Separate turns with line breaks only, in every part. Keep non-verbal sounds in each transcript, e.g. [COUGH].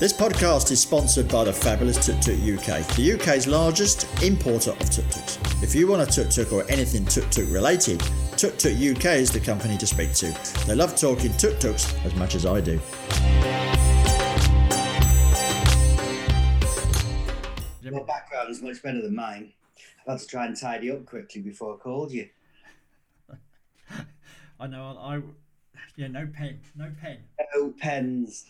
This podcast is sponsored by the fabulous Tuk Tuk UK, the UK's largest importer of tuk tuks. If you want a tuk tuk or anything tuk tuk related, Tuk Tuk UK is the company to speak to. They love talking tuk tuks as much as I do.
Your background is much better than mine. I've had to try and tidy up quickly before I called you.
I know. I, I yeah. No pen. No pen.
No pens.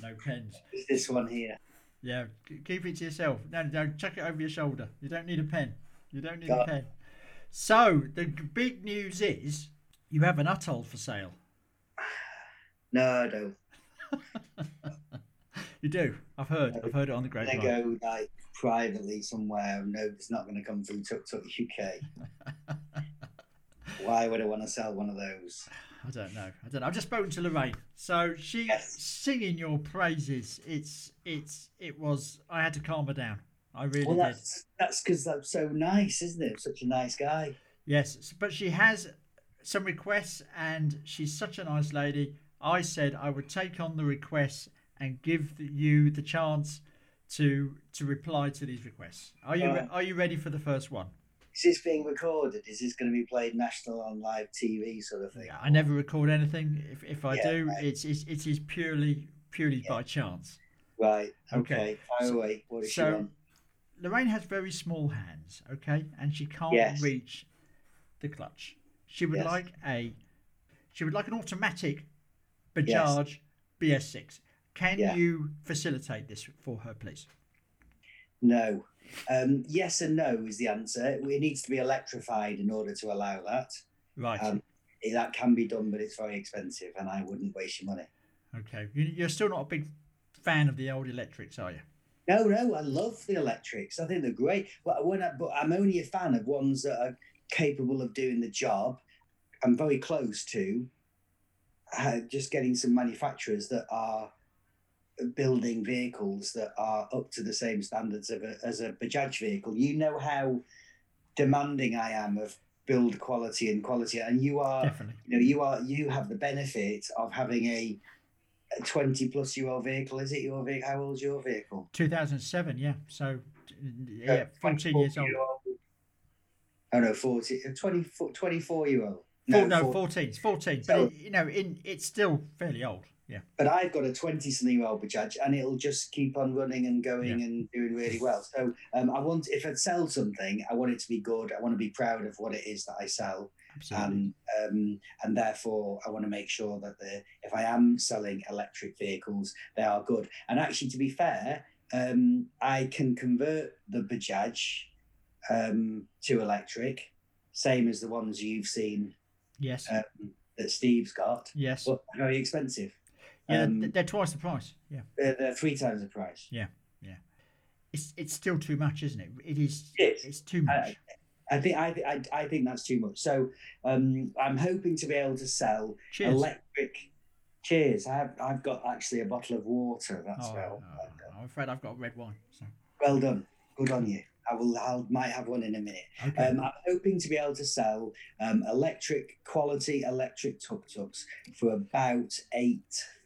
No pens.
It's this one here.
Yeah. k- Keep it to yourself. No, no. Chuck it over your shoulder. You don't need a pen. You don't need
Got
a
it.
pen. So the g- big news is you have an atoll for sale.
No, no.
You do. I've heard. I've heard it on the
They
grapevine.
go like privately somewhere. No, it's not going to come through Tuk Tuk
[LAUGHS]
UK. Why would I want to sell one of those?
I don't know. I don't know. I've just spoken to Lorraine. So she's
Yes.
singing your praises. It's it's it was. I had to calm her down. I really
Well,
did.
that's that's because I'm so nice, isn't it? I'm such a nice guy.
Yes, s- but she has some requests, and she's such a nice lady. I said I would take on the requests and give the, you the chance to to reply to these requests. Are you re-
Right.
are you ready for the first one?
Is this being recorded? Is this going to be played national on live TV sort of thing?
I never record anything. If if I
Yeah,
do,
right.
it's, it's it is purely purely
Yeah.
by chance.
Right.
Okay.
Okay. Fire
So-
away. What is she
so-
on?
Lorraine has very small hands, okay, and she can't
Yes.
reach the clutch. She would
Yes.
like a, she would like an automatic
Yes.
Bajaj BS6. Can
Yeah.
you facilitate this for her, please?
No. Um, yes and no is the answer. It needs to be electrified in order to allow that.
Right.
Um, that can be done, but it's very expensive, and I wouldn't waste your money.
okay. You, you're still not a big fan of the old electrics, are you?
No, no, I love the electrics. I think they're great. But when I, but I'm only a fan of ones that are capable of doing the job. I'm very close to uh, just getting some manufacturers that are building vehicles that are up to the same standards of a, as a Bajaj vehicle. You know how demanding I am of build quality and quality, and you are
Definitely.
you know you are you have the benefit of having a, a 20 plus year old vehicle is it your vehicle how old's your vehicle
2007, yeah. So, yeah,
Uh,
14 years old.
24-year-old. oh no 40 uh, 20 24 year old
No, no, 14. It's 14. But,
So-
it, you know, in it's still fairly old. Yeah.
but I've got a 20 something year old Bajaj and it'll just keep on running and going and doing really well. So um, I want, if I sell something, I want it to be good. I want to be proud of what it is that I sell.
Absolutely.
and um, and therefore I want to make sure that the if I am selling electric vehicles, they are good. And actually, to be fair, um, I can convert the Bajaj um, to electric, same as the ones you've seen
yes.
um, that Steve's got,
yes.
but very expensive.
yeah,
um,
they're, they're twice the price. Yeah.
They're, they're three times the price.
it's it's still too much, isn't it? It is.
It is. Uh,
It's too much.
I think I, thi- I, I think that's too much. So um, I'm hoping to be able to sell
Cheers.
electric. Cheers! I've I've got actually a bottle of water. That's
oh,
well.
oh, I'm afraid I've got red wine. So.
Well done. Good on you. I will. I might have one in a minute.
Okay.
Um, I'm hoping to be able to sell um, electric quality electric tuk tuks for about eight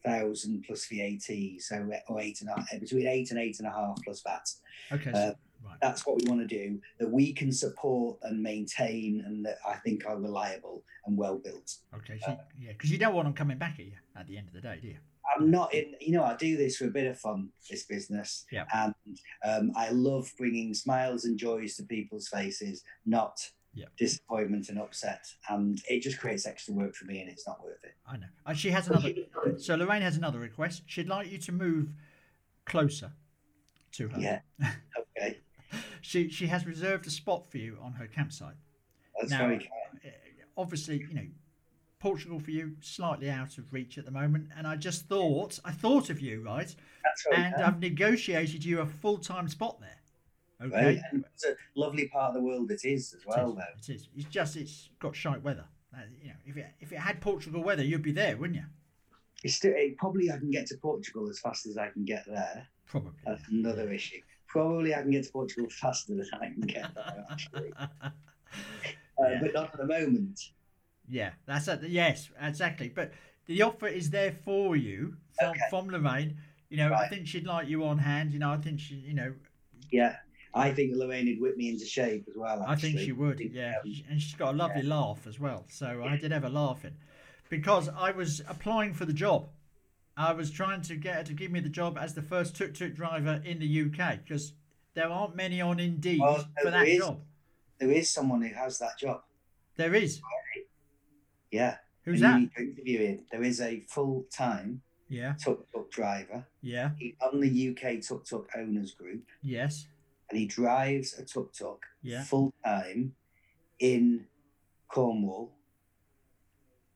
thousand plus VAT. So uh, or eight and a half, between eight and eight and a half plus VAT.
okay.
uh,
so- right.
That's what we want to do. That we can support and maintain, and that I think are reliable and well built.
Okay. So, yeah, because you don't want them coming back at you at the end of the day, do you?
I'm not in, you know, I do this for a bit of fun, this business.
Yeah.
And um, I love bringing smiles and joys to people's faces, not
Yeah.
disappointment and upset. And it just creates extra work for me and it's not worth it.
I know. Uh, she has another. So Lorraine has another request. She'd like you to move closer to her. [LAUGHS]
Yeah. Okay.
She she has reserved a spot for you on her campsite.
That's
Now-
very kind.
Uh, Obviously, you know, Portugal for you slightly out of reach at the moment. And I just thought I thought of you, right?
That's very
and
kind.
I've negotiated you a full time spot there. Okay.
Right? And it's a lovely part of the world it is as well, though.
it is. It is. It's just it's got shite weather. Uh, you know, if it if it had Portugal weather, you'd be there, wouldn't you?
It's still, it, probably I can get to Portugal as fast as I can get there.
Probably.
That's
[LAUGHS]
another issue. Probably I can get to Portugal [LAUGHS] faster than I can get there, actually. Uh,
[LAUGHS] Yeah.
But not at the moment.
yeah, that's it. Yes, exactly. But the offer is there for you from
Okay.
from Lorraine You know, I
Right.
think she'd like you on hand. You know, I think she, you know,
Yeah, I think Lorraine would whip me into shape as well.
I think
actually.
she would.
think,
Yeah,
um,
She- and she's got a lovely laugh as well. So I did have a laughing because I was applying for the job. I was trying to get her to give me the job as the first tuk tuk driver in the UK because there aren't many on Indeed
Well,
for
there
that
is.
job.
There is someone who has that job.
There is.
Yeah.
Who's
and
that?
You need to interview him. There is a full time
Yeah,
tuk tuk driver
yeah,
he, on the UK tuk tuk owners group,
yes,
and he drives a tuk tuk
Yeah.
full time in Cornwall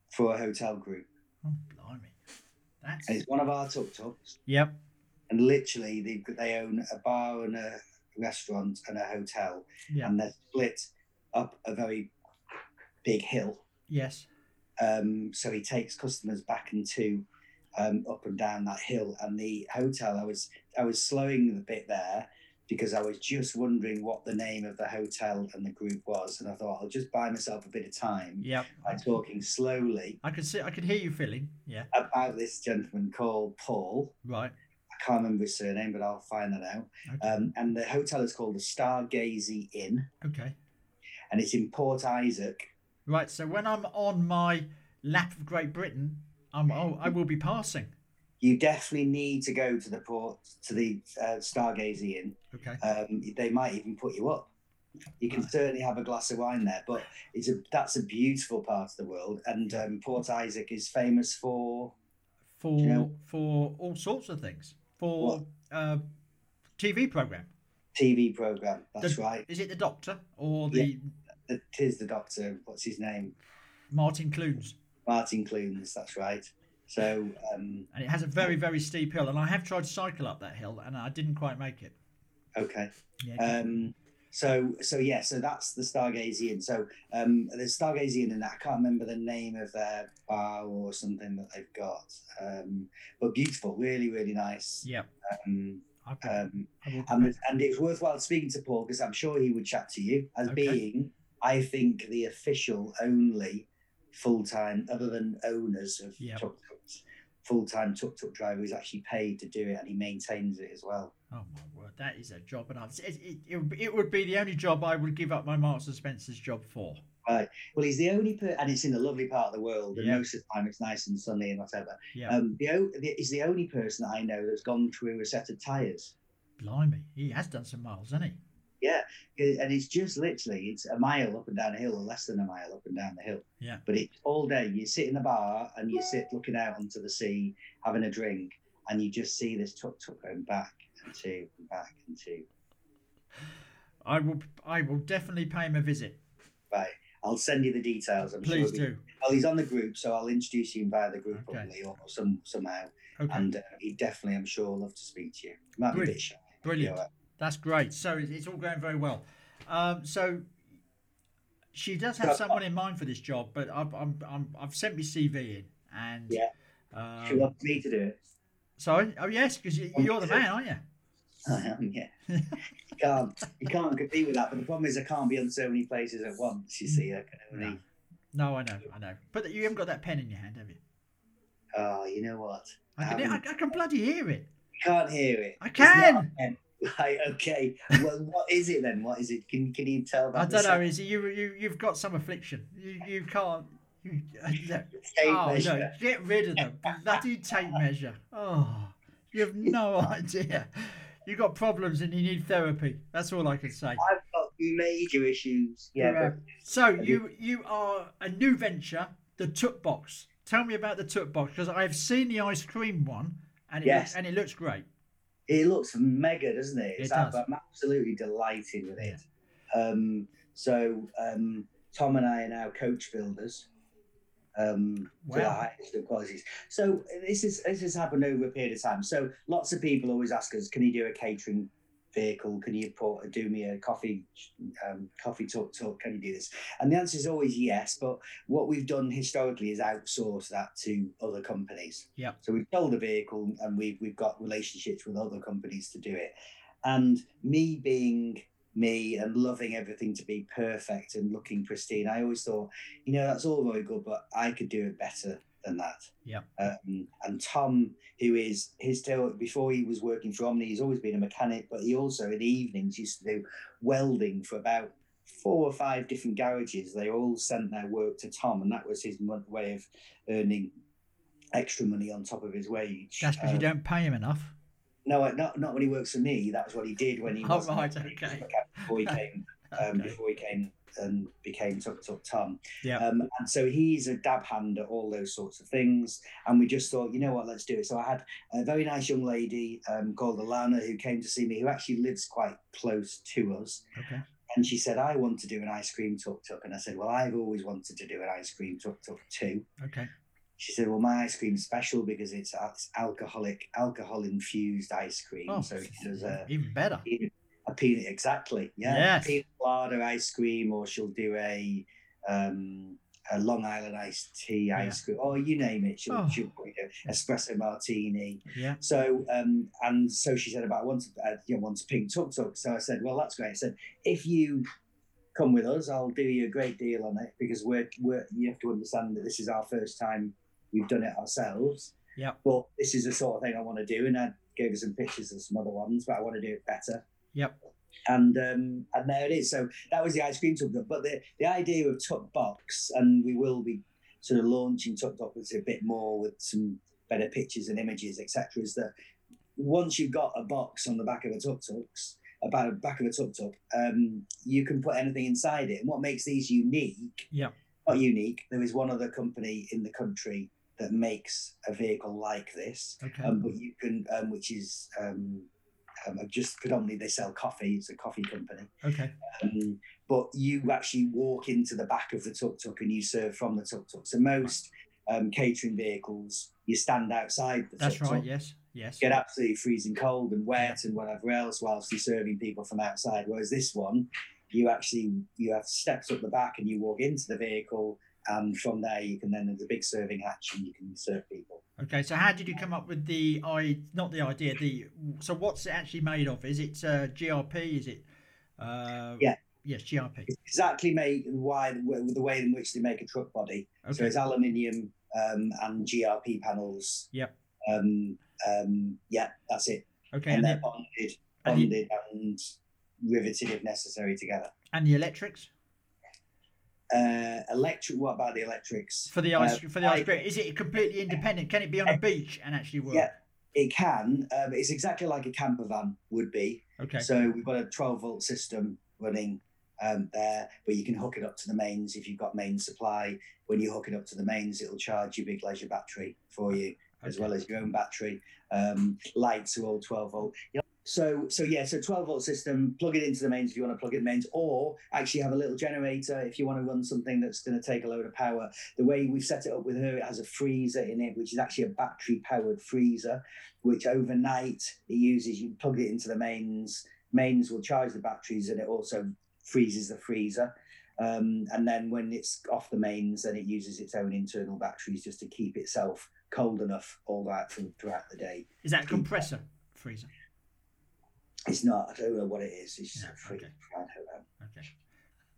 for a hotel group.
Oh, blimey. That's
And it's one of our tuk tuks.
yep.
And literally, they, they own a bar and a restaurant and a hotel,
Yeah.
and they're split up a very big hill.
Yes.
Um, so he takes customers back and to um, up and down that hill. And the hotel, I was I was slowing the bit there because I was just wondering what the name of the hotel and the group was, and I thought I'll just buy myself a bit of time
Yep.
by talking slowly
I could see. I could hear you feeling. Yeah.
about this gentleman called Paul.
Right.
I can't remember his surname, but I'll find that out.
Okay.
Um, and the hotel is called the Stargazy Inn,
okay.
and it's in Port Isaac.
Right. So when I'm on my lap of Great Britain, I'm. Oh, I will be passing.
You definitely need to go to the port to the uh, Stargazy Inn
Okay.
um, they might even put you up. You can certainly have a glass of wine there, but it's a that's a beautiful part of the world, and um, Port Isaac is famous for
For
Yeah.
for all sorts of things. For uh, TV program.
TV program. That's
The-
right.
Is it the Doctor or the
It is the Doctor. What's his name?
Martin Clunes?
Martin Clunes. That's right. So um,
And it has a very very steep hill, and I have tried to cycle up that hill, and I didn't quite make it.
okay.
[LAUGHS] Yeah.
Um, so so yeah. So that's the Stargazy Inn. So um, the Stargazy Inn, and I can't remember the name of their bar or something that they've got, um, but beautiful, really really nice.
yeah.
Um,
I,
um,
I will
and, and it's worthwhile speaking to Paul because I'm sure he would chat to you as
Okay.
being, I think, the official only full time, other than owners of
Yeah.
tuk tuks, full time tuk tuk driver who's actually paid to do it and he maintains it as well.
Oh my word, that is a job, and I've, it, it, it, would be- it would be the only job I would give up my Marks and Spencer's job for.
Well, he's the only per and it's in a lovely part of the world, and
Yeah.
most of the time it's nice and sunny and whatever.
Yeah,
Um, the, o- the, he's the only person that I know that's gone through a set of tyres.
blimey, he has done some miles, hasn't he?
and it's just literally it's a mile up and down a hill or less than a mile up and down the hill
Yeah.
but it's all day you sit in the bar and you sit looking out onto the sea having a drink and you just see this tuk tuk going back and two and back and two
I will, I will definitely pay him a visit.
right i'll send you the details i'm
Please
sure
do.
well he's on the group so i'll introduce him via the group
Okay.
probably or some somehow
Okay,
and uh, he definitely i'm sure love to speak to you He might be a bit
Brilliant.
shy,
brilliant.
you know,
That's great. So it- it's all going very well. Um, so she does have
So-
someone in mind for this job, but I've, I'm, I'm, I've sent my CV in, and
Yeah. she
Um,
wants me to do it
sorry. Oh yes, because you,
Um,
you're the
so-
man, aren't you?
I am, yeah. you can't you can't compete with that. But the problem is I can't be on so many places at once. You see, I can only.
No, I know, I know. But you haven't got that pen in your hand, have you?
Oh, you know what?
I can, I,
Um,
I can bloody hear it.
You can't hear it.
I
It's not
can.
a pen. Right. Okay. well, what is it then? What is it? Can Can you tell?
I
About
don't know. Is it you? You you've got some affliction. You you can't. You, [LAUGHS]
[LAUGHS]
no. Oh no! Get rid of them. Bloody tape measure. Oh, you have no [LAUGHS] idea. You got problems and you need therapy. That's all I can say.
I've got major issues. Yeah.
Right.
but
So you you are a new venture, the Toot Box. Tell me about the Toot Box because I've seen the ice cream one and it
Yes.
looks, and it looks great.
It looks mega, doesn't it?
It
It's
does.
I'm absolutely delighted with it. Um, so um, Tom and I are now coach builders. Um, To the
Wow.
highest of qualities. So this is this has happened over a period of time. So lots of people always ask us, can you do a catering vehicle? Can you put, do me a coffee um, coffee talk talk? Can you do this? And the answer is always yes. But what we've done historically is outsource that to other companies.
Yep.
So we've sold a vehicle and we've we've got relationships with other companies to do it. And me being me and loving everything to be perfect and looking pristine, I always thought, you know, that's all very good, but I could do it better. than that.
Yeah.
Um, and Tom, who is his tail before he was working for Omni, he's always been a mechanic, but he also in the evenings used to do welding for about four or five different garages. They all sent their work to Tom, and that was his mon- way of earning extra money on top of his wage.
That's because you
Um,
don't pay him enough.
No, not not when he works for me. That's what he did when he
Oh,
was [LAUGHS]
right,
he was
okay.
a mechanic before he came um,
Okay.
before he came and became Tuk Tuk Tom.
Yeah.
Um, and so he's a dab hand at all those sorts of things. And we just thought, you know what, let's do it. So I had a very nice young lady um, called Alana who came to see me, who actually lives quite close to us.
Okay.
And she said, I want to do an ice cream Tuk Tuk. And I said, well, I've always wanted to do an ice cream Tuk Tuk too.
Okay.
She said, "Well, my ice cream's special because it's, it's alcoholic, alcohol infused ice cream.
Oh,
so she does a,
even better.
a peanut exactly yeah
Yes.
peanut larder ice cream or she'll do a um a long island iced tea
Yeah.
ice cream or you name it she'll,
Oh.
she'll put in an espresso martini
Yeah.
so um and so she said about once uh, you know once pink tuk tuk so i said well that's great i said if you come with us i'll do you a great deal on it because we're, we're you have to understand that this is our first time we've done it ourselves
Yep.
but this is the sort of thing i want to do and i gave her some pictures of some other ones but i want to do it better
Yep.
and um, and there it is. So that was the ice cream tub. But the, the idea of Tuck Box, and we will be sort of launching Tuck Box a bit more with some better pictures and images, etc. Is that once you've got a box on the back of a Tuck Tux, about the back of a Tuck Tuk, um, you can put anything inside it. And what makes these unique?
Yeah.
Not unique. There is one other company in the country that makes a vehicle like this
Okay.
um, but you can, um, which is um, um, just predominantly they sell coffee. It's a coffee company.
okay. Mm-hmm.
Um, but you actually walk into the back of the tuk tuk and you serve from the tuk tuk. So most um, catering vehicles, you stand outside the
That's
tuk tuk.
right. Yes. Yes.
Get absolutely freezing cold and wet and whatever else whilst you're serving people from outside. Whereas this one, you actually you have steps up the back and you walk into the vehicle, and from there you can then there's a big serving hatch and you can serve people.
Okay. So how did you come up with the i not the idea the so what's it actually made of? Is it uh, GRP? Is it? Uh,
Yeah.
Yes, GRP.
It's exactly made why the way in which they make a truck body. So
Okay.
it's aluminium um, and GRP panels.
Yep.
Um, um, yeah, that's it.
Okay.
And,
And
they're
the,
bonded,
and the-
bonded and riveted if necessary together.
and the electrics
Uh, electric. What about the electrics?
for the ice
Uh,
for the ice
I-
cream. Is it completely independent? Can it be on a beach and actually work?
Yeah. It can. Um, it's exactly like a camper van would be.
Okay.
So we've got a 12 volt system running um, there, but you can hook it up to the mains if you've got main supply. When you hook it up to the mains, it'll charge your big leisure battery for you, as
Okay.
well as your own battery. Um, lights are all 12 volt. Yeah. So, so yeah, so 12 volt system, plug it into the mains if you want to plug it mains, or actually have a little generator if you want to run something that's going to take a load of power. The way we've set it up with her, it has a freezer in it, which is actually a battery powered freezer, which overnight it uses, you plug it into the mains, mains will charge the batteries and it also freezes the freezer. Um, and then when it's off the mains, then it uses its own internal batteries just to keep itself cold enough all right from throughout the day.
Is that a compressor freezer?
It's not, I don't know what it is. It's just
Yeah,
a free,
okay.
I don't know.
Okay.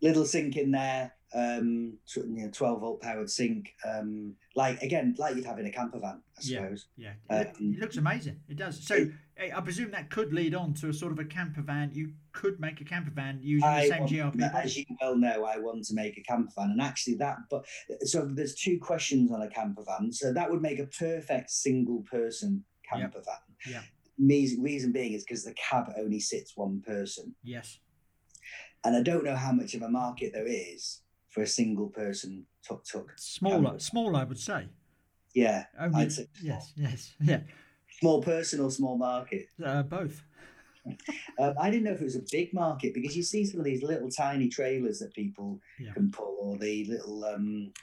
Little sink in there, um, tw- you know, 12 volt powered sink. Um, like, again, like you'd have in a camper van, I
Yeah.
suppose.
Yeah, it,
Uh,
look- it looks amazing. It does. So eh, I I presume that could lead on to a sort of a camper van. You could make a camper van using the
I
same
want-
GRP. body.
as you well know, I want to make a camper van, and actually that. But so there's two questions on a camper van, so that would make a perfect single person camper van.
Yeah.
Me, reason being is because the cab only sits one person,
Yes.
and I don't know how much of a market there is for a single person tuk tuk.
Smaller,
van.
small, I would say.
Yeah,
Only,
I'd say small.
yes, yes, [LAUGHS] yeah,
small person or small market.
uh, both.
Um, I didn't know if it was a big market because you see some of these little tiny trailers that people
Yeah.
can pull, or the little um,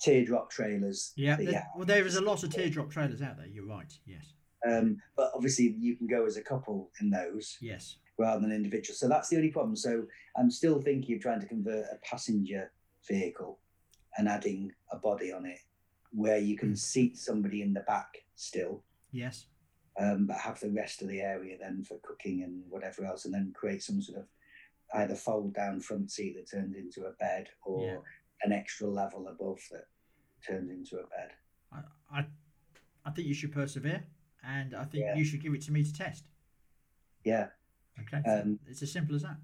teardrop trailers.
Yeah.
that you
there- Well, there is a lot of teardrop trailers out there. You're right. Yes.
Um, but obviously, you can go as a couple in those
Yes.
rather than individual. So that's the only problem. So I'm still thinking of trying to convert a passenger vehicle and adding a body on it where you
Hmm.
can seat somebody in the back still,
Yes.
um, but have the rest of the area then for cooking and whatever else, and then create some sort of either fold down front seat that turns into a bed or
Yeah.
an extra level above that turns into a bed.
I, I, I think you should persevere, and I think
Yeah.
you should give it to me to test.
Yeah.
Okay,
Um,
it's as simple as that.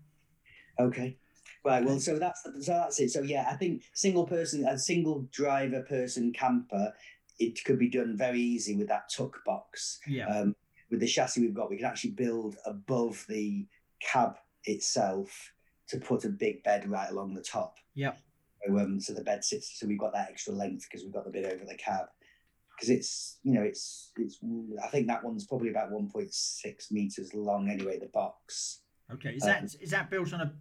Okay. Right. Well, so that's the, so that's it. So yeah, I think single person, a single driver person camper, it could be done very easy with that tuck box.
Yeah,
Um, with the chassis we've got, we can actually build above the cab itself to put a big bed right along the top.
Yep.
So, um, so the bed sits. So we've got that extra length because we've got the bit over the cab. Because it's you know it's it's I think that one's probably about one point six meters long anyway. The box.
okay. Is
um,
that is that built on a,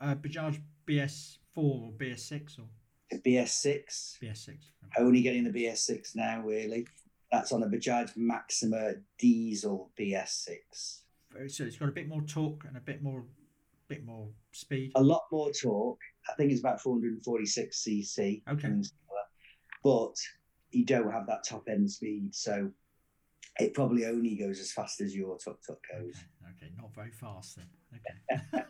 a Bajaj BS4 or BS6 or
The BS6.
BS6?
only getting the BS6 now, really. That's on a Bajaj Maxima diesel BS6.
Very- So it's got a bit more torque and a bit more, bit more speed.
A lot more torque. I think it's about 446 cc.
Okay.
something similar. But you don't have that top end speed, so it probably only goes as fast as your tuk tuk
Okay,
goes.
okay, not very fast then. Okay.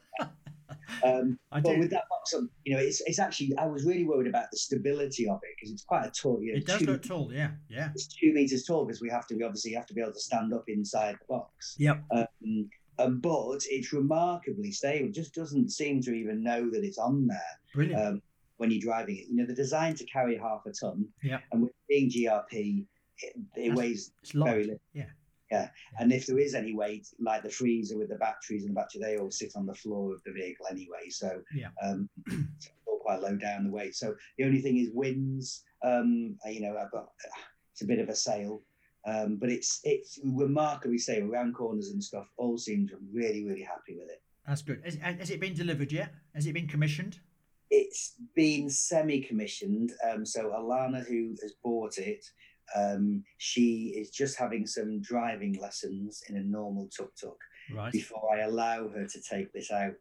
Um,
I
but
do.
with that box on, you know, it's it's actually I was really worried about the stability of it because it's quite a tall. You know,
it does
two,
look tall. Yeah, yeah.
it's two meters tall because we have to we obviously have to be able to stand up inside the box.
Yep.
Um, um, but it's remarkably stable. It just doesn't seem to even know that it's on there
Brilliant.
um, when you're driving it. You know, they're designed to carry half a ton.
Yeah.
And with being GRP, it, it
That's
weighs
it's light.
very little.
Yeah.
Yeah. And if there is any weight, like the freezer with the batteries and the battery, they all sit on the floor of the vehicle anyway. So,
Yeah.
um, [CLEARS THROAT] so it's all quite low down the weight. So the only thing is winds. Um, uh, you know, I've got, it's a bit of a sail, um, but it's it's remarkably stable around corners and stuff. All seems really really happy with it.
That's good. Has, has it been delivered yet? Has it been commissioned?
It's been semi-commissioned. Um, so Alana, who has bought it, um, she is just having some driving lessons in a normal tuk tuk.
Right.
before I allow her to take this out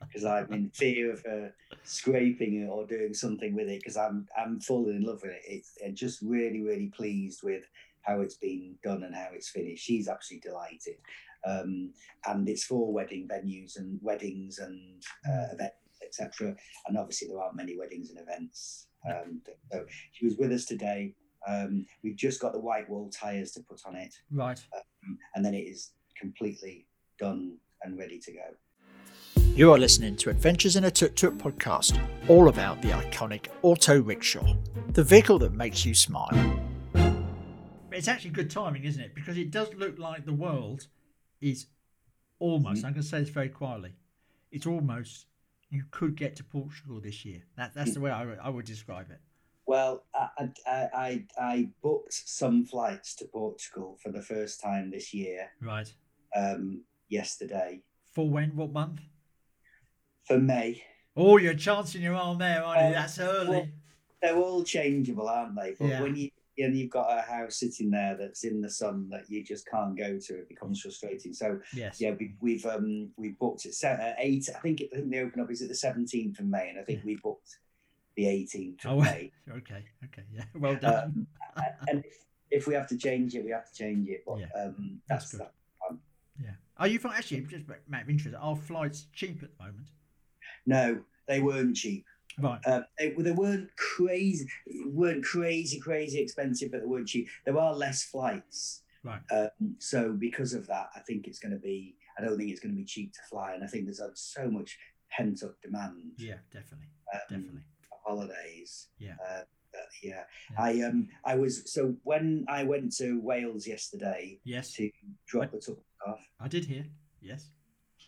because I'm in fear of her scraping it or doing something with it because I'm I'm falling in love with it. It's I'm just really really pleased with how it's been done and how it's finished. She's absolutely delighted, um, and it's for wedding venues and weddings and uh, events etc. And obviously there aren't many weddings and events. Um, so she was with us today. Um, we've just got the white wall tyres to put on it
Right.
and then it is completely done and ready to go.
You are listening to Adventures in a Tuk Tuk podcast, all about the iconic auto rickshaw, the vehicle that makes you smile.
But it's actually good timing, isn't it? Because it does look like the world is almost. I'm going to say this very quietly. It's almost. You could get to Portugal this year. That, that's the way I, would- I would describe it.
Well, I, I- I, I, I booked some flights to Portugal for the first time this year
Right.
um, yesterday
For when? What month?
for May.
Oh, you're chancing your arm there, aren't you?
Uh,
That's early.
They're all changeable, aren't they? But
Yeah.
when you and you've got a house sitting there that's in the sun that you just can't go to, it becomes frustrating. So
Yes.
yeah, we, we've um, we booked it se- uh, eight. I think, it, I think they open up is it the seventeenth of May, and I think we booked the eighteenth of
Oh, [LAUGHS]
May.
Okay. Okay. Yeah.
Uh,
Well done.
and if, if we have to change it, we have to change it. But
Yeah,
um,
that's
that's,
good.
that.
yeah. Are you fi- actually just out of interest? Are flights cheap at the moment?
no, they weren't cheap.
Right.
Um, they, they weren't crazy, weren't crazy, crazy expensive, but they weren't cheap. There are less flights,
Right.
um, so because of that, I think it's going to be. I don't think it's going to be cheap to fly, and I think there's uh, so much pent up demand.
Yeah. Definitely.
um,
Definitely.
holidays.
Yeah.
Uh, uh, yeah.
Yeah.
I um I was so when I went to Wales yesterday
Yes.
to drop the tuk off,
I did hear. Yes.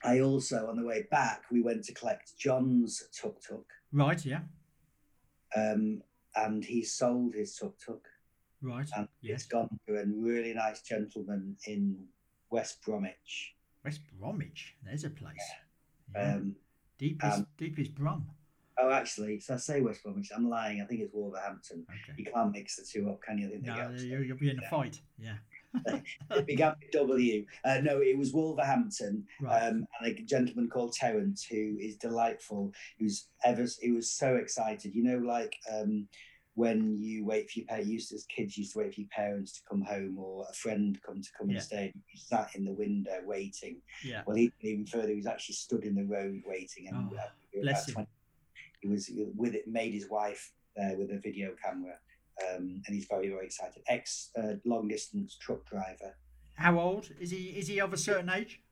I also, on the way back, we went to collect John's tuk tuk,
Right. Yeah.
um, and he sold his tuk tuk.
Right.
And
Yes.
it's gone to a really nice gentleman in West Bromwich.
West Bromwich. There's a place. Yeah.
Um,
deep is
um,
deep is Brum.
oh, actually, so I say West Bromwich. I'm lying. I think it's Wolverhampton.
Okay.
You can't mix the two up, can you? I think they
No,
get upset.
you, you'll be in a fight. Yeah.
it began with W. Uh, no, it was Wolverhampton.
Right.
um, and a gentleman called Terence who is delightful. Who's ever he was so excited. You know, like um, when you wait for your parents, used to, as kids used to wait for your parents to come home or a friend come to come
Yeah.
and stay. You sat in the window waiting.
yeah.
Well, he even further, he was actually stood in the road waiting, and
Oh,
uh, we were
bless
about
him.
20 he was with it, made his wife there with a video camera. um, and he's very very excited. Ex uh, long distance truck driver.
How old is he? Is he of a certain age?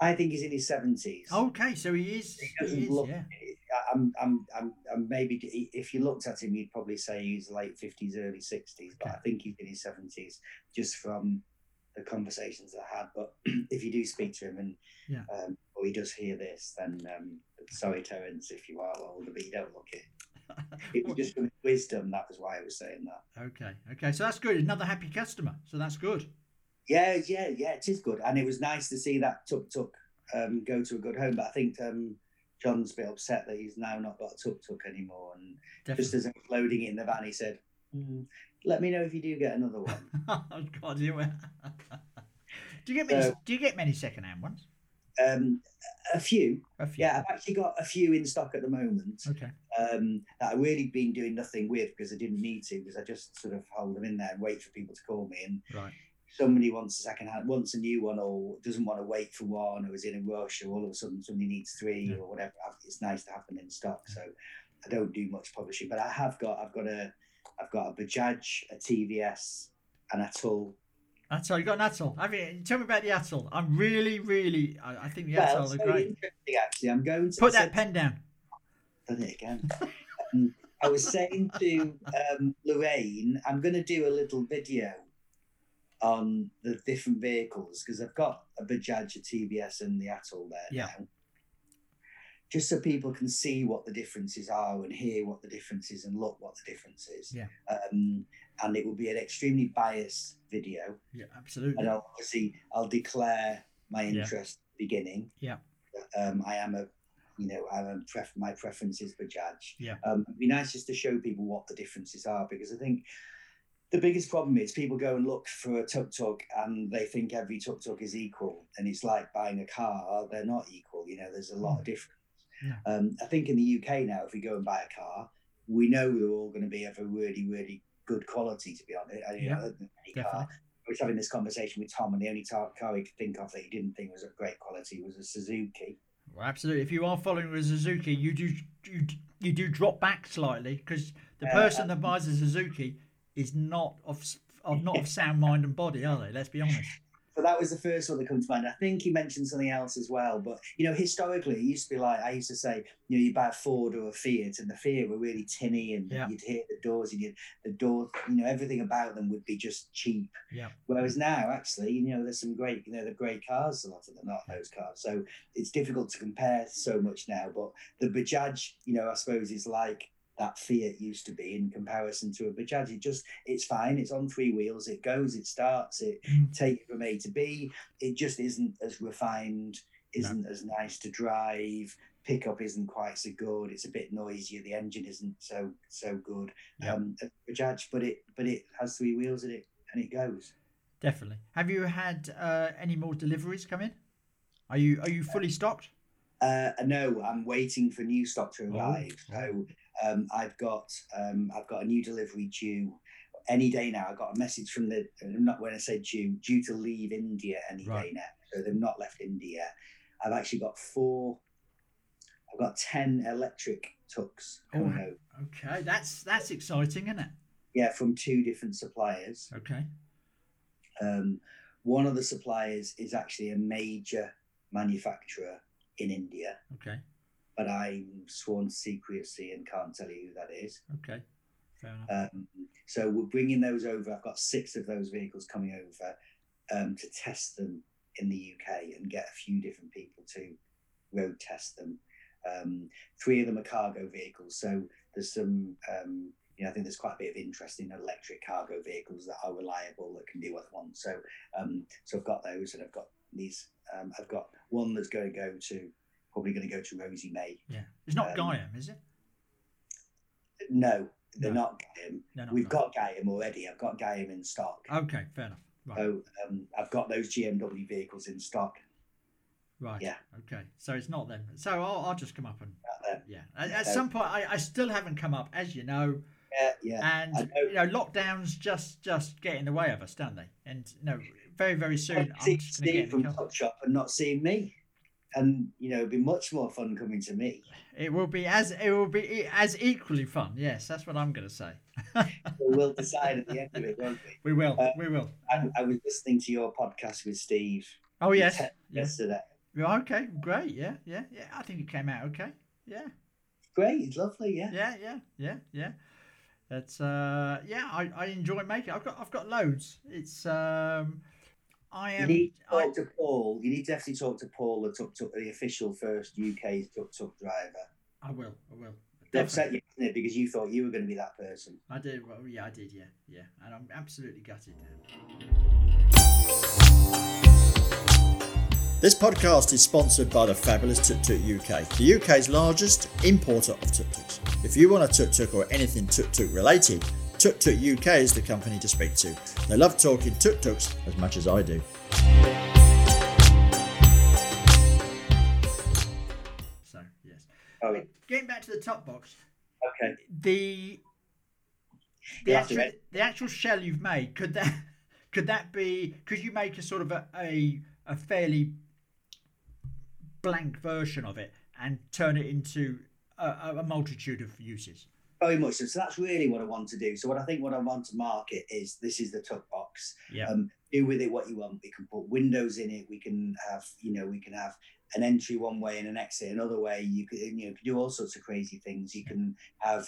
I think he's in his seventies.
Okay, so he is.
he
He
doesn't
is
look.
yeah.
I- I'm, I'm, I'm, I'm maybe if you looked at him, you'd probably say he's late fifties, early sixties, but I
Okay.
think he's in his seventies just from the conversations I had. But [CLEARS THROAT] if you do speak to him and
Yeah.
um, or he does hear this, then um, sorry, Terence, if you are older, but you don't look
[LAUGHS]
it. It was
Well,
just from wisdom. That was why I was saying that.
okay, okay. So that's good. Another happy customer. So that's good.
Yeah, yeah, yeah. It is good, and it was nice to see that tuk tuk um, go to a good home. But I think um, John's a bit upset that he's now not got a tuk tuk anymore, and
Definitely.
just
Mm.
as I was loading it in the van, he said, "Hmm, "Let me know if you do get another one."
oh [LAUGHS] God, you. were- do you get many?
So-
do you get many second-hand ones?
um, a few,
A few.
yeah. I've actually got a few in stock at the moment
Okay.
um, that I've really been doing nothing with because I didn't need to because I just sort of hold them in there and wait for people to call me. And
Right.
somebody wants a second hand, wants a new one, or doesn't want to wait for one, or is in a rush, or all of a sudden somebody needs three
Yeah.
or whatever. I- It's nice to have them in stock. So I don't do much publishing, but I have got, I've got a, I've got a Bajaj, a TVS, and a Tull.
Atoll, you got an atoll. Have you? Tell me about the atoll. I'm really, really. I, I think the
Well,
atoll
it's
are
very
great.
interesting, actually. I'm going to
Put that
[LAUGHS]
pen down.
done
[LAUGHS]
it again. um, I was saying to um, Lorraine, I'm going to do a little video on the different vehicles because I've got a Bajaj, a TBS, and the Atoll there
Yeah.
now. Just so people can see what the differences are and hear what the differences and look what the difference is.
Yeah.
Um, and it will be an extremely biased video
Yeah, absolutely.
and I'll obviously I'll declare my
Yeah.
interest at the beginning.
Yeah.
Um, I am a, you know, I'm a pref- my preference is Bajaj.
Yeah.
Um, it'd be nice just to show people what the differences are because I think the biggest problem is people go and look for a tuk tuk and they think every tuk tuk is equal and it's like buying a car. They're not equal. You know, there's a lot of difference.
Mm. Yeah.
Um, I think in the UK now, if we go and buy a car, we know they're all going to be of a really, really good quality. To be honest, I, you
Yeah,
know, any car.
Definitely.
I was having this conversation with Tom, and the only tar- car he could think of that he didn't think was of great quality was a Suzuki.
Well, absolutely. If you are following with Suzuki, you do you, d- you do drop back slightly because the
Yeah,
person that buys a Suzuki is not of s- of not of sound mind and body, are they? Let's be
[LAUGHS]
honest.
So that was the first one that comes to mind. I think he mentioned something else as well, but you know, historically, it used to be like I used to say, you know, you buy a Ford or a Fiat, and the Fiat were really tinny, and
Yeah.
you'd hear the doors, and you'd, the door, you know, everything about them would be just cheap.
Yeah.
Whereas now, actually, you know, there's some great, you know, the great cars, a lot of them, not those cars. So it's difficult to compare so much now. But the Bajaj, you know, I suppose is like that Fiat used to be in comparison to a Bajaj. It just, it's fine. It's on three wheels. It goes, it starts, it
Mm.
takes you from A to B. It just isn't as refined, isn't as nice to drive. Pickup isn't quite so good. It's a bit noisier. The engine isn't so so good.
Yeah.
Um, a Bajaj, but it but it has three wheels in it and it goes.
Definitely. Have you had uh, any more deliveries come in? Are you are you fully stocked?
Uh, no, I'm waiting for new stock to
Oh,
arrive. So um, I've got um, I've got a new delivery due any day now. I got a message from the uh, not when I said due due to leave India any day
Right.
now. So they've not left India. I've actually got four. I've got ten electric tucks
Oh,
coming
wow.
over.
Okay, that's that's exciting, isn't it?
Yeah, from two different suppliers.
Okay.
Um, one of the suppliers is actually a major manufacturer in India.
Okay.
but I'm sworn to secrecy and can't tell you who that is.
Okay. Fair enough.
Um, so we're bringing those over. I've got six of those vehicles coming over um, to test them in the UK and get a few different people to road test them. Um, three of them are cargo vehicles, so there's some. Um, you know, I think there's quite a bit of interest in electric cargo vehicles that are reliable that can do what they want. So, um, so I've got those, and I've got these. Um, I've got one that's going to go to probably going to go to Rosie May
yeah. It's not
um,
Guyam, is it?
No, they're
No.
not Gaim.
No, no.
We've
no.
got Gaim already. I've got Gaim in stock.
Okay. Fair enough. Right.
So um, I've got those GMW vehicles in stock.
Right.
Yeah.
Okay. So it's not them. So I'll, I'll just come up and
Not them.
yeah. At, at
So-
some point, I, I still haven't come up, as you know,
Yeah, yeah. I
and
know.
you know lockdowns just just get in the way of us, don't they? And you know, very very soon I'm
See
just going to
Steve
get in
from
the car.
Top Shop and not seeing me, and you know, it'd be much more
[LAUGHS]
fun coming to me.
It will be as it will be e- as equally fun. Yes, that's what I'm going to say.
we'll decide at the end of it, won't we?
We will.
Uh,
we will.
And I was listening to your podcast with Steve
Oh yes.
te-
Yes.
yesterday.
Yeah, okay. Great. Yeah. Yeah. Yeah. I think it came out okay. Yeah.
Great, it's lovely, yeah.
Yeah. Yeah. Yeah. Yeah. That's uh. Yeah. I, I enjoy making. I've got I've got loads. It's um. I
You
am.
need to
I,
talk to Paul. You need to definitely talk to Paul, the tuk tuk, the official first UK tuk tuk driver.
I will. I will.
It upset you, didn't it? Because you thought you were going to be that person.
I did. Well, yeah, I did. Yeah, yeah, and I'm absolutely gutted.
This podcast is sponsored by the fabulous Tuk Tuk UK, the UK's largest importer of tuk tuks. If you want a tuk tuk or anything tuk tuk related, Tuk Tuk UK is the company to speak to. They love talking tuk tuks as much as I do.
So yes,
Oh,
But getting back to the top box,
okay.
the the
Yeah,
actual
that's
the actual shell you've made could that [LAUGHS] could that be could you make a sort of a a, a fairly blank version of it and turn it into a, a- a multitude of uses?
Very much so. So that's really what I want to do. So what I think what I want to market is this is the tuck box.
Yeah,
Um, do with it what you want. We can put windows in it. We can have you know we can have an entry one way and an exit another way. You can you know you can do all sorts of crazy things. You can have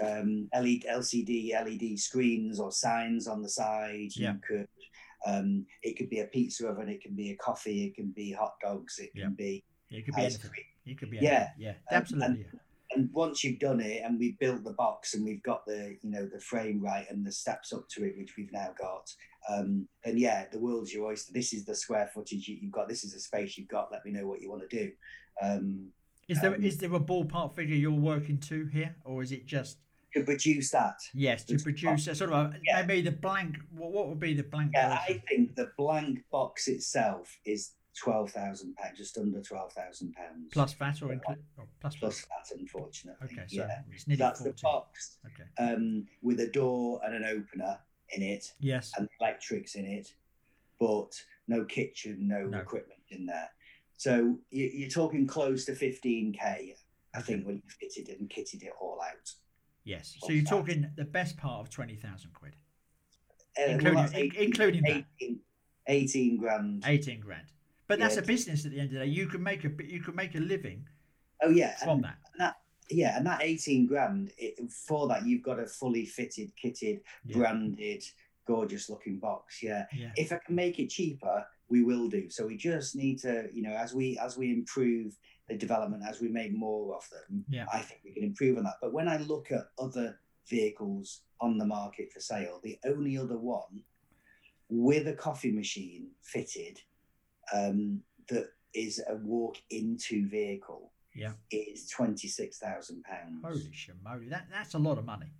um, LED, LCD LED E screens or signs on the side.
Yeah.
You could um, it could be a pizza oven. It can be a coffee. It can be hot dogs. It can
Yeah.
be
it could be
ice
anything.
cream.
It could be
Yeah. Um,
anything. yeah, absolutely. yeah.
and once you've done it and we've built the box and we've got the you know the frame right and the steps up to it which we've now got um then yeah the world's your oyster this is the square footage you, you've got this is the space you've got let me know what you want to do um
Is there is
um,
there a ballpark figure you're working to here, or is it just
to produce that
Yes, to
It's-
produce a sort of a,
Yeah.
maybe the blank. What, what would be the blank?
yeah i
version?
think the blank box itself is 12,000 pounds just under 12,000 pounds
plus VAT or, include, or plus
plus
VAT.
that unfortunately
Okay, so
yeah
it's nearly
that's the
fourteen.
box
Okay.
um with a door and an opener in it
Yes.
and electrics in it, but no kitchen, no,
No.
equipment in there. So you, you're talking close to 15k, I think, when you fitted it and kitted it all out.
Yes. So
plus
you're
VAT.
talking the best part of twenty thousand quid,
Uh,
Including-
that's
in- including that.
18, 18 grand.
eighteen grand. But that's
Yeah.
a business at the end of the day. You can make a you can make a living
Oh yeah,
from
and,
that.
yeah, and that 18 grand it, for that you've got a fully fitted, kitted,
Yeah.
branded, gorgeous looking box. Yeah.
Yeah.
if I can make it cheaper, we will do. So we just need to, you know, as we as we improve the development, as we make more of them,
Yeah.
I think we can improve on that. But when I look at other vehicles on the market for sale, the only other one with a coffee machine fitted um, that is a walk-into vehicle
Yeah.
is twenty-six thousand pounds.
Holy shamoly, that that's a lot of money.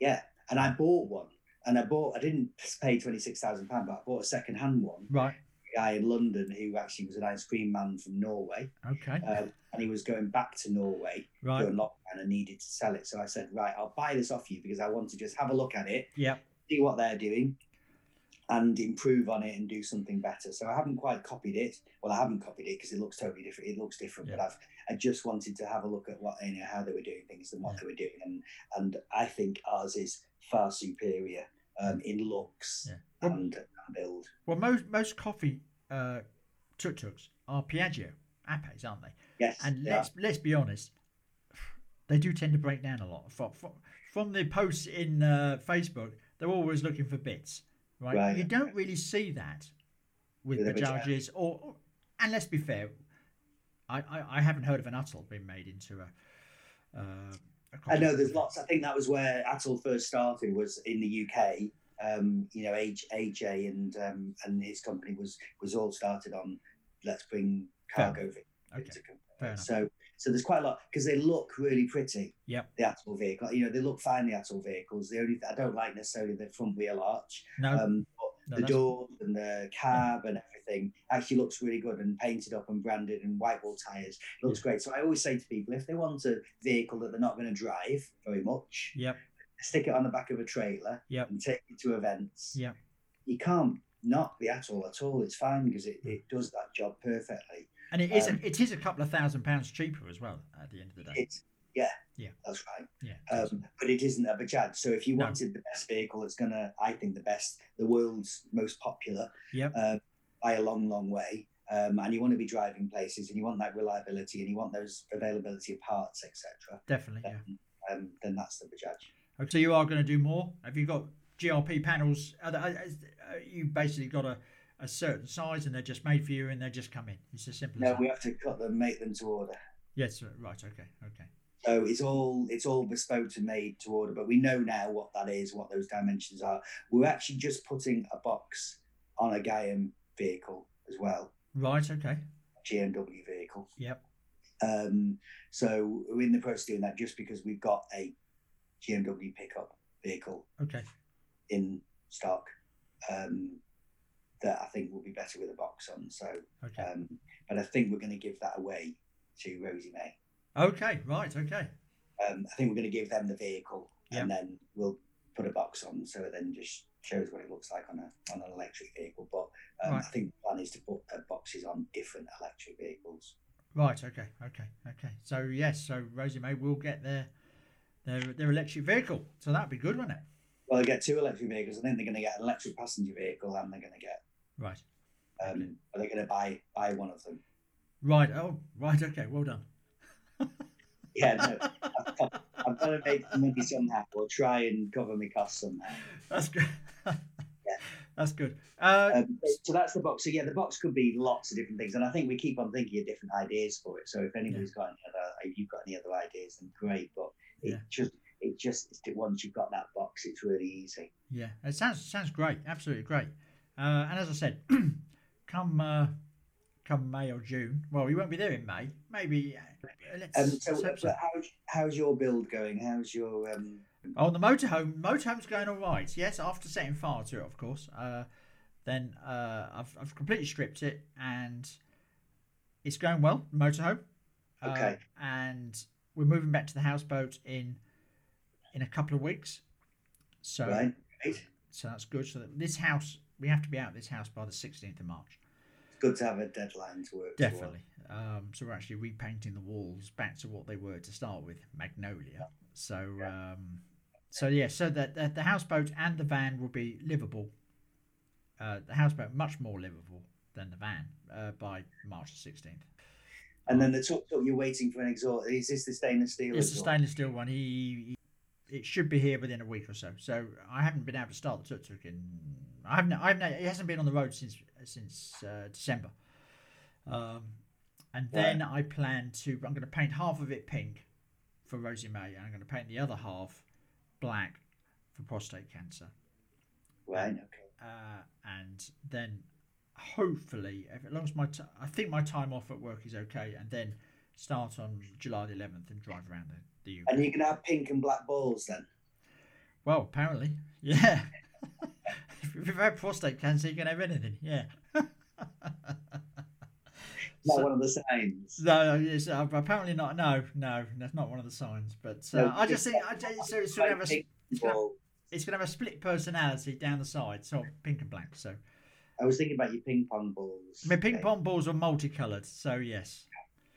Yeah, and I bought one. And I bought, I didn't pay £26,000, but I bought a second hand one
Right.
guy in London who actually was an ice cream man from Norway,
Okay.
um, and he was going back to Norway
right.
during lockdown and needed to sell it. So I said, right, I'll buy this off you because I want to just have a look at it,
Yeah.
see what they're doing, and improve on it and do something better. So I haven't quite copied it. Well, I haven't copied it because it looks totally different. It looks different, but
Yeah.
I've I just wanted to have a look at what you know how they were doing things and what
Yeah.
they were doing, and and I think ours is far superior um, in looks
Yeah. Well-
and, and build.
Well, most most coffee uh, tuk tuks are Piaggio Apes, aren't they?
Yes,
And
they are.
let's let's be honest, they do tend to break down a lot. From from, from the posts in uh, Facebook, they're always looking for bits, right?
Right.
You don't really see that with
With a Bajaj.
Bajajes, or or- and let's be fair, I, I, I haven't heard of an Uttle being made into a. Uh, a
I
coffee
know there's
tuk-tuk.
lots. I think that was where Atul first started was in the UK. Um, you know, H- AJ and um, and his company was was all started on let's bring
Fair
cargo vehicles.
Okay,
to come.
fair enough.
So so there's quite a lot because they look really pretty.
Yep.
The Atul vehicle, you know, they look fine. The Atul vehicles. The only I don't like necessarily the front wheel arch,
No,
um,
no,
but the
that's-
door and the cab and everything actually looks really good and painted up and branded and white wall tires looks great. So I always say to people if they want a vehicle that they're not going to drive very much,
Yep.
stick it on the back of a trailer
Yep.
and take it to events.
Yep.
You can't knock the Atoll at all. It's fine because
Hmm.
it, it does that job perfectly.
and it is
um,
a, it is a couple of thousand pounds cheaper as well at the end of the day.
It's Yeah.
Yeah.
That's right.
Yeah.
Um, but it isn't a Bajaj. So if you
No.
wanted the best vehicle, it's gonna, I think, the best, the world's most popular
yep.
uh, by a long, long way. Um, and you want to be driving places, and you want that reliability, and you want those availability of parts, etc.
Definitely. Yeah.
Um, then that's the Bajaj.
Okay, So you are going to do more. Have you got GRP panels? Are, the- is- are you basically got a, a certain size and they're just made for you and they just come in. It's as simple as
No,
that.
we have to cut them, make them to order.
Yes. Right. Okay. Okay.
So it's all it's all bespoke and made to order, but we know now what that is, what those dimensions are. We're actually just putting a box on a Gaiam vehicle as well,
Right. Okay.
GMW vehicle.
Yep.
Um, so we're in the process of doing that just because we've got a GMW pickup vehicle
Okay.
in stock um, that I think will be better with a box on. So,
Okay.
um, but I think we're going to give that away to Rosie May.
Okay. Right. Okay.
um, I think we're going to give them the vehicle and then we'll put a box on so it then just shows what it looks like on a on an electric vehicle. But um,
Right.
I think the plan is to put uh, boxes on different electric vehicles.
Right. Okay. Okay. Okay. So yes. So Rosie May will get their their their electric vehicle. So that'd be good, wouldn't it?
Well, they get two electric vehicles and then they're going to get an electric passenger vehicle and they're going to get
Right.
um,
Okay.
but they're going to buy buy one of them.
Right. Oh. Right. Okay. Well done. [LAUGHS]
Yeah, no, I've got to make the money somehow or try and cover my costs somehow.
That's good. [LAUGHS] That's good. Uh,
Um, so that's the box. So yeah, the box could be lots of different things, and I think we keep on thinking of different ideas for it. So if anybody's got any other, if you've got any other ideas, then great. But it
Yeah.
just, it just, it's the- once you've got that box, it's really easy.
Yeah, it sounds sounds great. Absolutely great. Uh, and as I said, [CLEARS THROAT] come uh, come May or June. Well, we won't be there in May. Maybe uh, let's.
Um, so,
let's hope so.
but how's how's your build going? How's your um,
Oh, the motorhome. Motorhome's going all right. Yes, after setting fire to it, of course. Uh, then uh, I've, I've completely stripped it, and it's going well. Motorhome. Uh,
Okay.
and we're moving back to the houseboat in in a couple of weeks. So
right?
so that's good. So that this house, we have to be out of this house by the 16th of March.
It's good to have a deadline to work. toward.
Definitely. Um, so we're actually repainting the walls back to what they were to start with, magnolia. So, um, so yeah, so that the, the houseboat and the van will be livable. Uh, the houseboat much more livable than the van uh, by March the 16th.
And then the tuk tuk, you're waiting for an exhaust. Is this the stainless steel?
It's a
exhaust?
stainless steel one. He, he- it should be here within a week or so. So I haven't been able to start the tuk tuk in. I haven't. I haven't. It hasn't been on the road since since uh, December. Um, and then I plan to. I'm going to paint half of it pink for Rosie May, and I'm going to paint the other half black for prostate cancer.
Right. Okay.
Uh, and then hopefully, if- as long as my t- I think my time off at work is okay, and then start on July the 11th and drive around the, the UK.
And you can have pink and black balls then.
Well, apparently, [LAUGHS] yeah. if you've had prostate cancer, you can have anything.
[LAUGHS]
Yeah.
Is that
So-
one of the signs?
no, yes, uh, apparently not. No, no, that's not one of the signs. But uh,
No,
I just
just
think I just, so it's
Right,
going to have a
pink
it's gonna-
ball.
it's going to have a split personality down the side, so pink and black. So
I was thinking about your ping pong balls.
my ping
Okay.
pong balls are multicolored. So yes,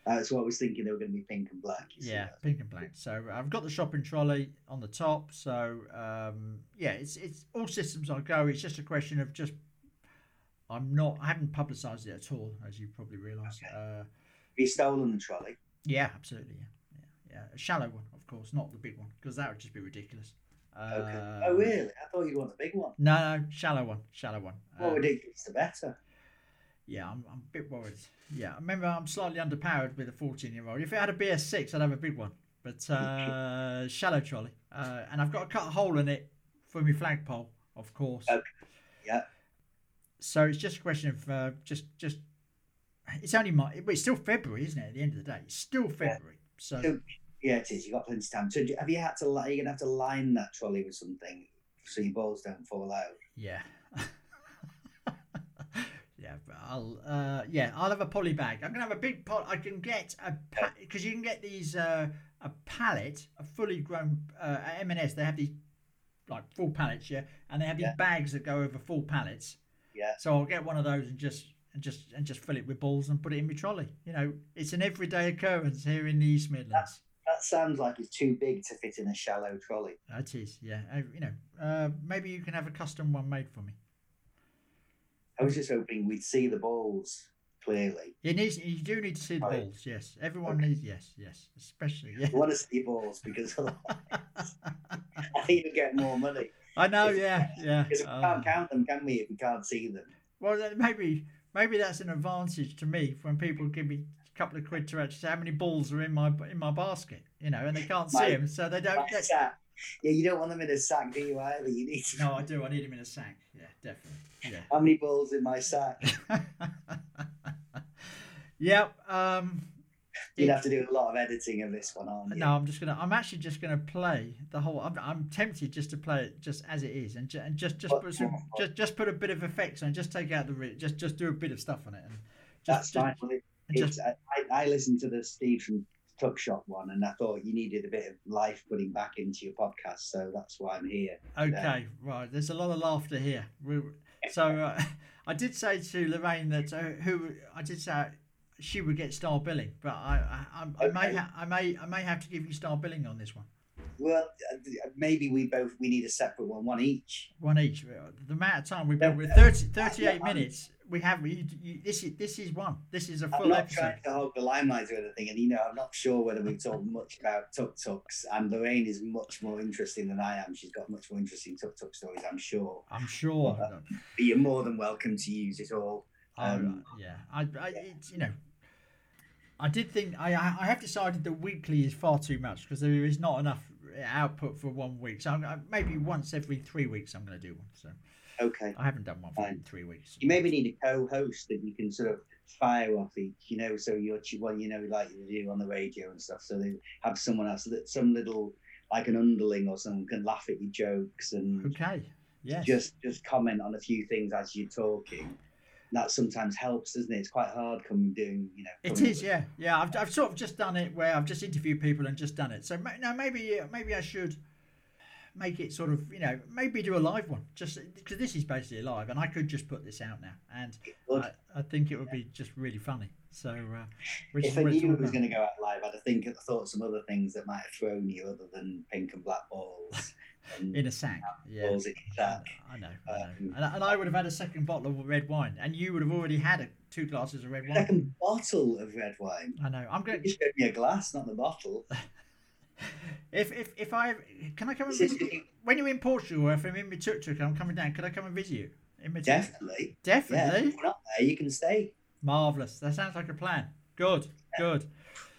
That's what I was thinking. They were going to be pink and black. you see
yeah,
that.
pink and black. So I've got the shopping trolley on the top. So um, yeah, it's it's all systems on go. It's just a question of just I'm not I haven't publicised it at all, as you probably realise.
Okay.
Uh,
Have you stolen the trolley?
yeah, absolutely. Yeah, yeah, yeah. A shallow one, of course, not the big one, because that would just be ridiculous. Uh,
Okay. oh, really? I thought you'd want the big one.
No, no, shallow one, shallow one.
More
Uh,
ridiculous, the better.
yeah, I'm, I'm a bit worried. Yeah, I remember I'm slightly underpowered with a 14 year old. If it had a BS6, I'd have a big one. But
[LAUGHS]
uh, shallow trolley. Uh, and I've got to cut a hole in it for my flagpole, of course.
Okay. Yeah.
So it's just a question of uh, just, just, it's only my, but it's still February, isn't it? At the end of the day, it's still February. So,
Still- Yeah, it is. You've got plenty of time. So, do- have you had to? Li- you're going to have to line that trolley with something so your balls don't fall out.
yeah. [LAUGHS] Yeah, but I'll uh, yeah, I'll have a poly bag. I'm gonna have a big pot. I can get a because you can get these uh, a pallet, a fully grown uh, at M&S. They have these like full pallets, yeah, and they have these
Yeah.
bags that go over full pallets.
Yeah.
So I'll get one of those and just and just and just fill it with balls and put it in my trolley. You know, it's an everyday occurrence here in the East Midlands.
that sounds like it's too big to fit in a shallow trolley.
That is, yeah. I, you know, uh, maybe you can have a custom one made for me.
I was just hoping we'd see the balls clearly.
You need, you do need to see the
Right.
balls. Yes, everyone
Oh, Okay.
needs. Yes, yes, especially. Yeah.
I want to see balls because otherwise
[LAUGHS]
I think you get more money.
I know. Yeah, yeah.
Because we
Uh,
can't count them, can we, if we can't see them?
well, then maybe maybe that's an advantage to me when people give me a couple of quid to actually say how many balls are in my in my basket, you know, and they can't see
Mate,
them, so they don't.
Like a
They,
sack. Yeah, you don't want them in a sack, do you, either? You need to
no, I do. I need them in a sack. Yeah, definitely. Yeah.
[LAUGHS] how many balls in my sack?
[LAUGHS] yep. Um,
You'd
it-
have to do a lot of editing of this one, aren't you?
no, I'm just gonna. I'm actually just gonna play the whole. I'm, I'm tempted just to play it just as it is, and, ju- and just just
What-
put some, just just put a bit of effects on, just take out the re- just just do a bit of stuff on it, and
That's
just
fine.
just,
Well, it-
and just
it's- I, I listened to the Steve from Tuck Shop one, and I thought you needed a bit of life putting back into your podcast, so that's why I'm here.
Okay, right. There's a lot of laughter here. we so uh, [LAUGHS] I did say to Lorraine that uh, who I did say she would get star billing, but I I, I, I may
Okay.
ha- I may I may have to give you star billing on this one.
Well, uh, maybe we both we need a separate one, one each.
One each. uh, The amount of time we've been
Yeah,
with
yeah.
30, 38
I'm-
minutes. We have you, you, this is this is one. This is a
I'm
full
not
episode.
trying to hog the limelight or anything, and you know, I'm not sure whether we've talked much about tuk tuks. And Lorraine is much more interesting than I am. She's got much more interesting tuk tuk stories, I'm sure.
I'm sure.
Uh, But you're more than welcome to use it all.
Um,
[LAUGHS] um,
yeah, I, I it's, you know, I did think I I I have decided that weekly is far too much because there is not enough output for one week. So I'm, I, maybe once every three weeks I'm going to do one. So
Okay.
I haven't done one for
Fine.
three weeks.
You maybe need a co-host that you can sort of fire off each, you know, so you're ch- well, you know, like you do on the radio and stuff. So they have someone else, that some little like an underling or someone can laugh at your jokes [LAUGHS] and
Okay. Yes.
just just comment on a few things as you're talking. That sometimes helps, doesn't it? It's quite hard coming doing, you know.
It
coming-
is, yeah, yeah. I've, I've sort of just done it where I've just interviewed people and just done it. So ma- now maybe uh, maybe I should make it sort of you know maybe do a live one just because this is basically live and I could just put this out now and
Good.
I, I think it would be just really funny. So uh, which
If
is
I
what it's
knew
all
it was
about.
going to go out live, I'd have think thought some other things that might have thrown you other than pink and black
[LAUGHS]
balls and
in a sack, yeah.
balls in your sack.
I know, I know.
Um,
And, I- and I would have had a second bottle of red wine, and you would have already had a, two glasses of red wine.
Second bottle of red wine.
I know. I'm going.
You showed me a glass, not
[LAUGHS]
the bottle.
If if if I can I come and
This is-
visit you? when you're in Portugal, if I'm in my tuk tuk, I'm coming down. Could I come and visit you? In my tuk-
Definitely. Yeah,
definitely.
if you're not there, you can stay.
Marvelous. That sounds like a plan. Good, good.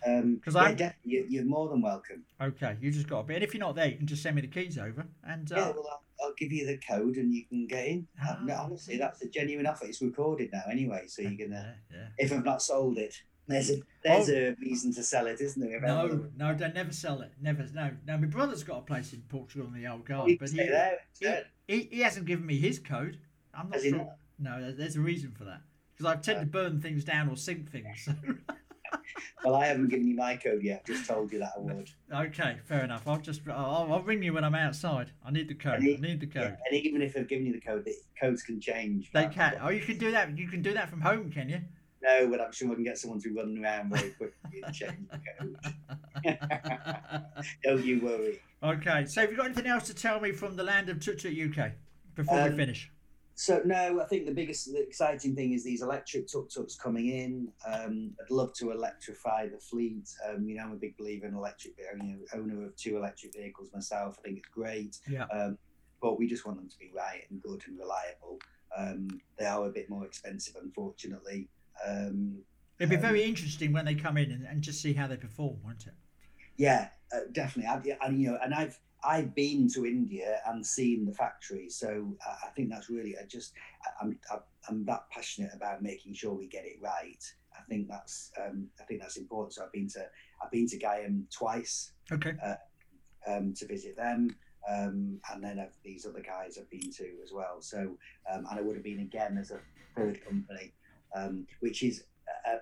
Um,
'Cause
yeah,
I'm-
definitely, you- you're more than welcome.
Okay, you just got to be. And if you're not there, you can just send me the keys over. And uh,
Yeah, well, I'll, I'll give you the code and you can get in.
Ah.
No, honestly, that's a genuine offer. It's recorded now anyway, so you're gonna.
yeah, yeah.
If I've not sold it, there's a there's a reason to sell it, isn't there? If I
Oh. No,
haven't-
no, they never sell it. Never, no, no. My brother's got a place in Portugal in the old
you
garden,
can
but
stay
he,
there.
he,
instead.
he, he hasn't given me his code. I'm not
Has he
sure.
not? Uh.
No, there- there's a reason for that because I tend to burn things down or sink things. [LAUGHS]
Well, I haven't given you my code yet. I've just told you that I
No. [LAUGHS]
would.
Okay, fair enough. I'll just I'll, I'll ring you when I'm outside. I need the code. I
need-
need the
Yeah,
code.
and even if I've given you the code, the codes can change.
They
right?
can. Oh, you can do that. You can do that from home, can
[LAUGHS]
you?
No, but I'm sure we can get someone to run around very quickly and change the code.
[LAUGHS]
[LAUGHS] Don't you worry.
okay. So, have you got anything else to tell me from the land of Tutut UK before we
Um,
finish?
So no, I think the biggest, the exciting thing is these electric tuk-tuks coming in. Um, I'd love to electrify the fleet. Um, you know, I'm a big believer in electric. You know, owner of two electric vehicles myself. I think it's great.
Yeah.
Um, but we just want them to be right and good and reliable. Um, they are a bit more expensive, unfortunately. Um,
It'd be
um,
very interesting when they come in and, and just see how they perform, won't it?
Yeah, uh, definitely. I've, yeah, and you know, and I've I've been to India and seen the factory, so uh, I, I think that's really. I just I, I'm I, I'm that passionate about making sure we get it right. I think that's um, I think that's important. So I've been to I've been to Guyam twice
Okay.
um, to visit them. Um, and then I've, these other guys I've been to as well. So, um, and I would have been again as a third company, um, which is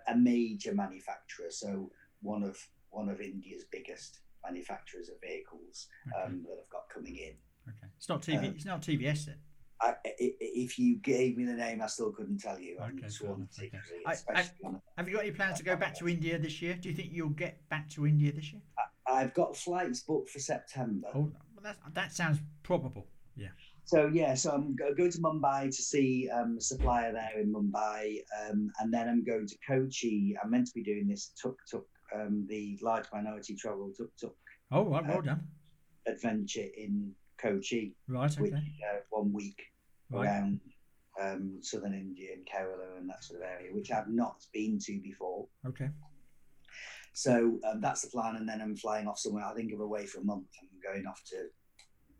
a, a major manufacturer. So one of one of India's biggest manufacturers of vehicles
Okay.
um, that I've got coming in.
okay. It's not TV.
um,
it's not TVS then.
I, i- i- if you gave me the name, I still couldn't tell you. I'm
Okay, fair
sworn
enough, okay.
secretly,
I- I-
especially on a
Have you got any plans to go back to India this year? Do you think you'll get back to India this year?
I, I've got flights booked for September.
Oh, well, that, that sounds probable. Yeah.
So yeah, so I'm go- going to Mumbai to see um, a supplier there in Mumbai, um, and then I'm going to Kochi. I'm meant to be doing this tuk tuk, um, the large minority travel tuk tuk
Oh, right.
uh,
Well done.
adventure in Kochi,
Right.
which
Okay.
uh, one week
Right.
around um, southern India and Kerala and that sort of area, which I've not been to before.
Okay.
So um, that's the plan, and then I'm flying off somewhere. I think I'm away for a month. I'm going off to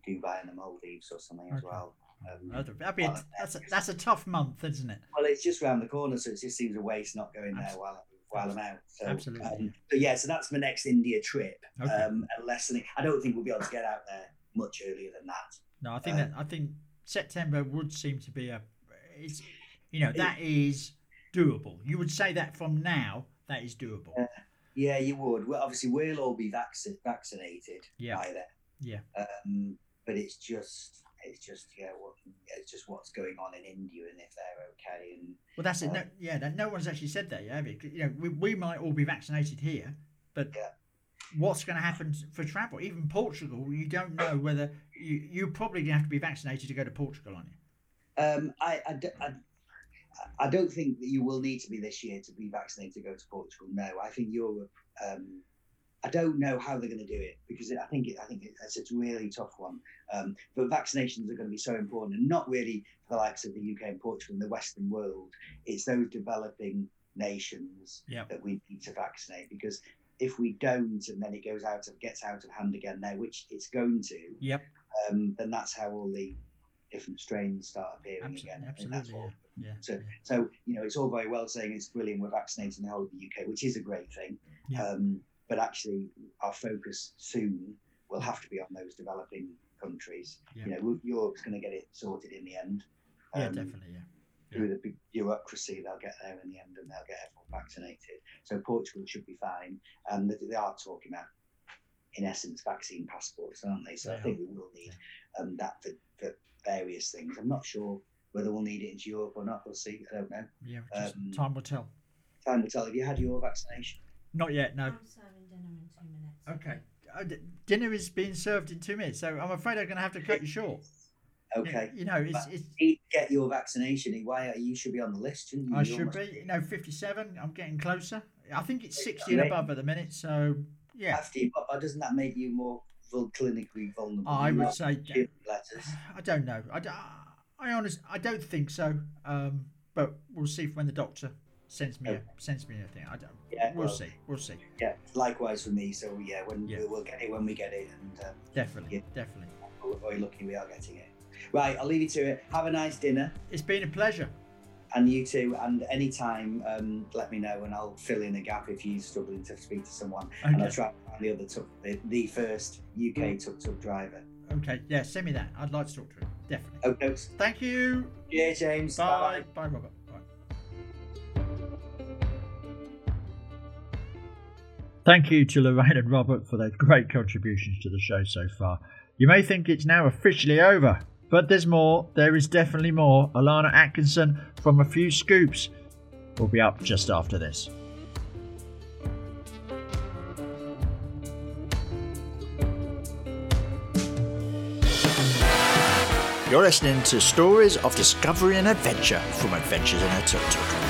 Dubai and the Maldives or something as
Okay.
well. Um,
That'd be a, that's a, that's a tough month, isn't it?
Well, it's just round the corner, so it just seems a waste not going there
Abs-
while while I'm out. So,
Absolutely,
um,
yeah.
but yeah, so that's my next India trip.
Okay.
Um, unless any- I don't think we'll be able to get out there much earlier than that.
No, I think
Uh,
that I think September would seem to be a it's you know that is doable. You would say that from now that is doable.
Yeah. Yeah, you would. Well, obviously, we'll all be vacci- vaccinated
Yeah.
by then.
Yeah.
Um, but it's just, it's just, yeah, what, it's just what's going on in India and if they're okay. And
Well, that's it.
Uh,
No, yeah, that, no one's actually said that yet. Have you? 'Cause, you know, we, we might all be vaccinated here, but
Yeah.
what's going to happen for travel? Even Portugal, you don't know whether you you probably gonna have to be vaccinated to go to Portugal, aren't you?
um, I, I, d- I- I don't think that you will need to be this year to be vaccinated to go to Portugal. No, I think Europe. Um, I don't know how they're going to do it because I think it, I think it's, it's a really tough one. Um, but vaccinations are going to be so important, and not really for the likes of the UK and Portugal and the Western world. It's those developing nations
Yep.
that we need to vaccinate because if we don't, and then it goes out of gets out of hand again there, which it's going to
Yep.
um, then that's how all the different strains start appearing
Abso-
again. I think that's
absolutely.
what-
Yeah.
So,
yeah,
So, you know, it's all very well saying it's brilliant, we're vaccinating the whole of the UK, which is a great thing.
Yeah.
Um, but actually, our focus soon will have to be on those developing countries.
Yeah.
You know, we- Europe's going to get it sorted in the end.
yeah. yeah
Um,
definitely. Yeah.
Through the big bureaucracy, they'll get there in the end and they'll get everyone vaccinated. So, Portugal should be fine. And they, they are talking about, in essence, vaccine passports, aren't they? So,
They
I think we will need um, that for, for various things. I'm not sure whether we'll need it into Europe or not. We'll see. I don't know.
Yeah. Just
um,
time will tell.
Time will tell. Have you had your vaccination?
Not yet. No.
I'm serving dinner in two minutes.
Okay. Uh, d- dinner is being served in two minutes, so I'm afraid I'm going to have to cut you short. You-
Okay.
You know, it's,
But-
it's
Need to Get your vaccination. Why are you should be on the list, shouldn't you?
I
You
should
almost-
be, you know, 57. I'm getting closer. I think it's 60 and
Mate.
above at the minute, so yeah,
After you, but doesn't that make you more vul- clinically vulnerable?
I
You
would
are
say.
given letters.
I don't know. I, d- I honest, I don't think so. Um, but we'll see when the doctor sends me a, sends me a thing. I don't.
Yeah,
we'll
well-
see. We'll see.
Yeah. Likewise for me. So yeah, when
Yeah.
We'll, we'll get it when we get it, and um,
Definitely,
Yeah.
definitely.
we're very lucky we are getting it. Right. I'll leave you to it. Have a nice dinner.
It's been a pleasure.
and you too. And anytime, um, let me know, and I'll fill in a gap if you're struggling to speak to someone. And I'll
Okay. Mm.
try and find the other tuk, the, the first UK tuk tuk driver. Oh,
Okay. Yeah. Send me that. I'd like to talk to him. Definitely.
Okay,
Thank you.
yeah, James.
Bye. Bye, Robert. Bye. Thank you to Lorraine and Robert for their great contributions to the show so far. You may think it's now officially over, but there's more. There is definitely more. Alana Atkinson from A Few Scoops will be up just after this.
You're listening to Stories of Discovery and Adventure from Adventures in a Tuk Tuk.